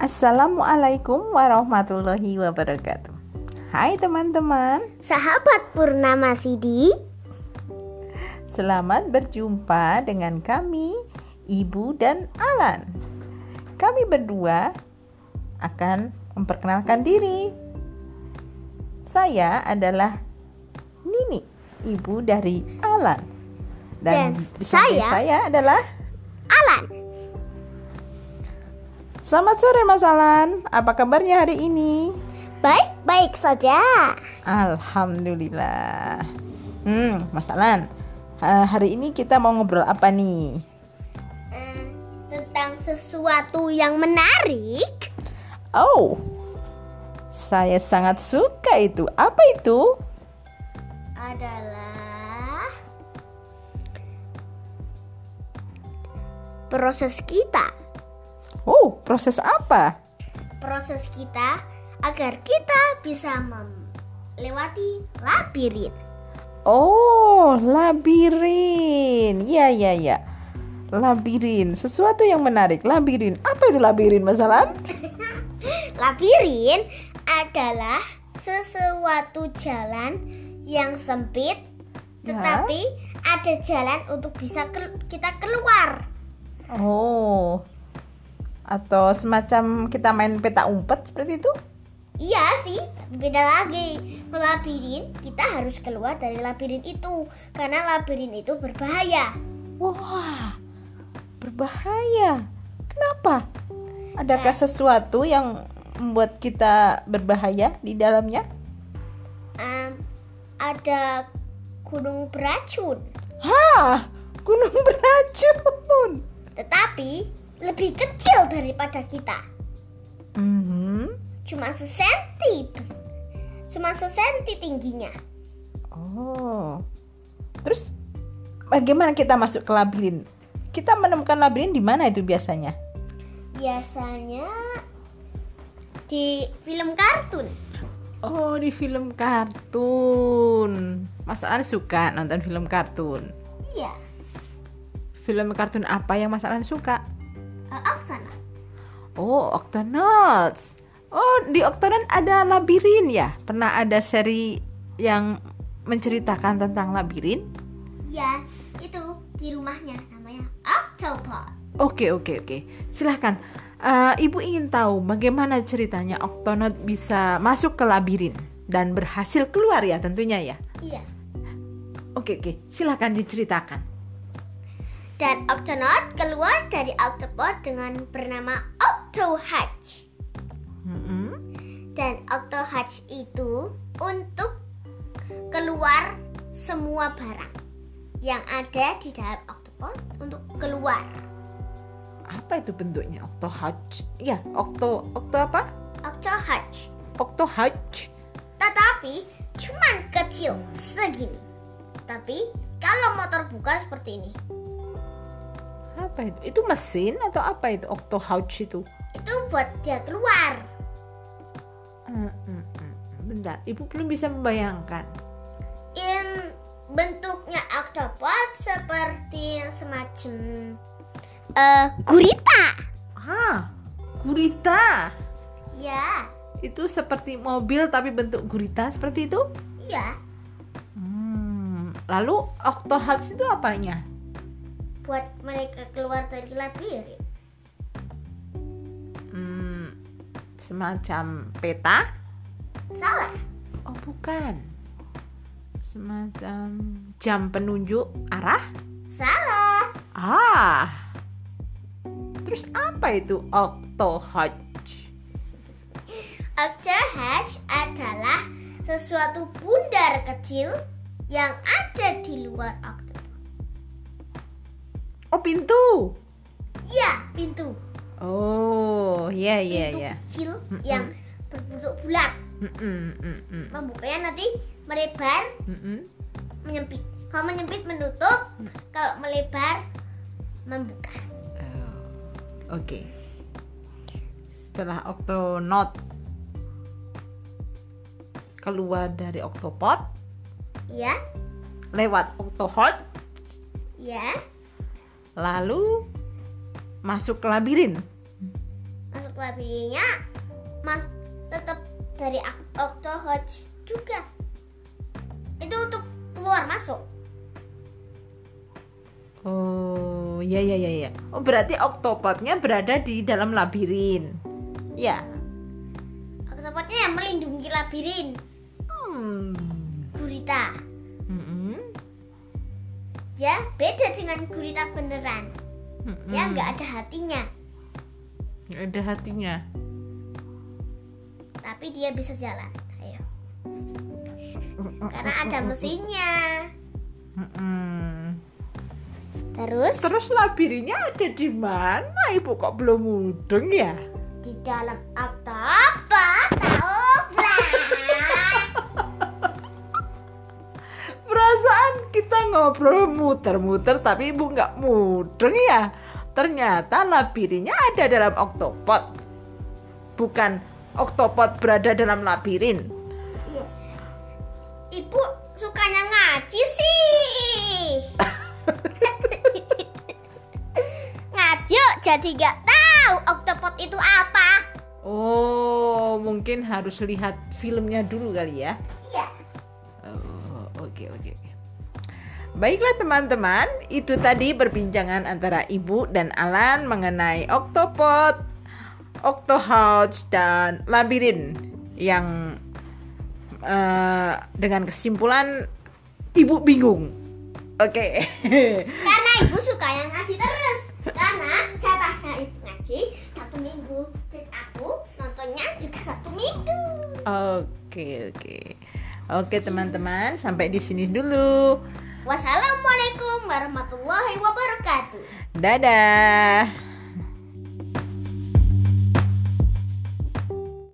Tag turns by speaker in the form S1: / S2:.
S1: Assalamualaikum warahmatullahi wabarakatuh. Hai teman-teman,
S2: Sahabat Purnama Sidi,
S1: selamat berjumpa dengan kami, Ibu dan Alan. Kami berdua akan memperkenalkan diri. Saya adalah Nini, ibu dari Alan. Dan,
S2: Dan
S1: di samping
S2: saya-
S1: saya adalah
S2: Alan,
S1: Selamat sore Mas Alan. Apa kabarnya hari ini?
S2: baik-baik saja.
S1: Alhamdulillah. Hmm, Mas Alan, eh, hari ini kita mau ngobrol apa nih?
S2: Eh, tentang sesuatu yang menarik.
S1: Oh, saya sangat suka itu. Apa itu?
S2: adalah proses kita.
S1: Oh, proses apa?
S2: Proses kita agar kita bisa melewati labirin.
S1: Oh, labirin. Ya, ya, ya. Labirin, sesuatu yang menarik. Labirin, apa itu labirin, Mas Alan?
S2: Labirin adalah sesuatu jalan yang sempit
S1: Ya.
S2: tetapi ada jalan untuk bisa kel- kita keluar.
S1: Oh, atau semacam kita main peta umpet seperti itu?
S2: Iya sih, tapi beda lagi. Kalau Labirin, kita harus keluar dari labirin itu karena labirin itu berbahaya.
S1: Wah, berbahaya. Kenapa? Adakah sesuatu yang membuat kita berbahaya di dalamnya?
S2: Em, ada gunung beracun,
S1: Hah, gunung beracun.
S2: tetapi lebih kecil daripada kita.
S1: Mhm.
S2: Cuma sesenti, bes- cuma sesenti tingginya.
S1: Oh. Terus bagaimana kita masuk ke labirin? Kita menemukan labirin di mana itu biasanya?
S2: Biasanya di film kartun.
S1: Oh, di film kartun. Mas Alan suka nonton film kartun.
S2: Iya,
S1: Film kartun apa yang Mas Alan suka?
S2: eh, Oksana.
S1: Oh, Octonauts. Oh, di Octonauts ada labirin ya? Pernah ada seri yang menceritakan tentang labirin?
S2: Iya, itu di rumahnya namanya Octopod.
S1: Oke, oke, oke. Silahkan. Eh, Ibu ingin tahu bagaimana ceritanya Octonaut bisa masuk ke labirin dan berhasil keluar ya tentunya ya?
S2: Iya.
S1: Oke, oke. Silahkan diceritakan.
S2: Dan Octonaut keluar dari Octopod dengan bernama Octohatch.
S1: Mm-mm.
S2: Dan Octohatch itu untuk keluar semua barang yang ada di dalam Octopod untuk keluar.
S1: Apa itu bentuknya? Octohatch? Ya, Octo... Octo apa?
S2: Octohatch.
S1: Octohatch.
S2: Tetapi cuman kecil segini. Tapi kalau motor buka seperti ini,
S1: Apa itu? Itu mesin atau apa itu Octohatch itu?
S2: itu buat dia keluar.
S1: Mm, mm, mm. Bentar, ibu belum bisa membayangkan.
S2: in bentuknya octopod seperti semacam eh gurita.
S1: Ah, gurita.
S2: Ya,
S1: Itu seperti mobil tapi bentuk gurita seperti itu.
S2: ya
S1: Hmm, lalu octohax itu apanya?
S2: buat mereka keluar dari labirin.
S1: Hmm, semacam peta?
S2: Salah.
S1: Oh, bukan. Semacam jam penunjuk arah?
S2: Salah.
S1: Ah. Terus apa itu octohatch?
S2: Octohatch adalah sesuatu bundar kecil yang ada di luar octopod.
S1: Oh, pintu.
S2: Ya, pintu.
S1: Oh, iya iya
S2: pintu
S1: iya.
S2: kecil
S1: Mm-mm.
S2: yang berbentuk bulat.
S1: Mm-mm, mm-mm,
S2: Membukanya nanti melebar
S1: mm-mm.
S2: menyempit. Kalau menyempit menutup,
S1: Mm.
S2: kalau melebar membuka.
S1: Oh, Oke. Setelah Octonaut keluar dari Octopod,
S2: Ya,
S1: lewat Octohot,
S2: ya.
S1: lalu masuk ke labirin.
S2: Masuk labirinnya mas tetap dari Ak- Octohotch juga itu untuk keluar masuk
S1: Oh, ya ya ya ya. Oh, berarti oktopodnya berada di dalam labirin. Ya.
S2: Octopodnya yang melindungi labirin
S1: Hmm.
S2: gurita
S1: Mm-mm.
S2: ya beda dengan gurita beneran
S1: Mm-mm.
S2: ya nggak ada hatinya
S1: Nggak ada hatinya.
S2: tapi dia bisa jalan ayo karena ada mesinnya
S1: Mm-mm.
S2: terus
S1: Terus labirinnya ada di mana? Ibu kok belum mudeng ya?
S2: di dalam Octopod tahu
S1: Perasaan kita ngobrol muter-muter tapi ibu nggak mudeng ya. Ternyata labirinnya ada dalam oktopod. Bukan oktopod berada dalam labirin.
S2: Ibu sukanya ngaji sih. ngaji yuk, jadi nggak tahu oktopod itu apa.
S1: Oh, mungkin harus lihat filmnya dulu kali ya.
S2: Iya.
S1: Oh, oke oke. oke. Baiklah teman-teman, itu tadi perbincangan antara Ibu dan Alan mengenai Octopod, Octohouse dan Labirin yang eh, dengan kesimpulan Ibu bingung. Oke.
S2: Karena ibu sukanya ngaji terus. Karena jatahnya ibu ngaji satu minggu dan aku nontonnya juga satu minggu.
S1: Oke, oke. Oke, teman-teman, sampai di sini dulu.
S2: Wassalamualaikum warahmatullahi wabarakatuh.
S1: Dadah.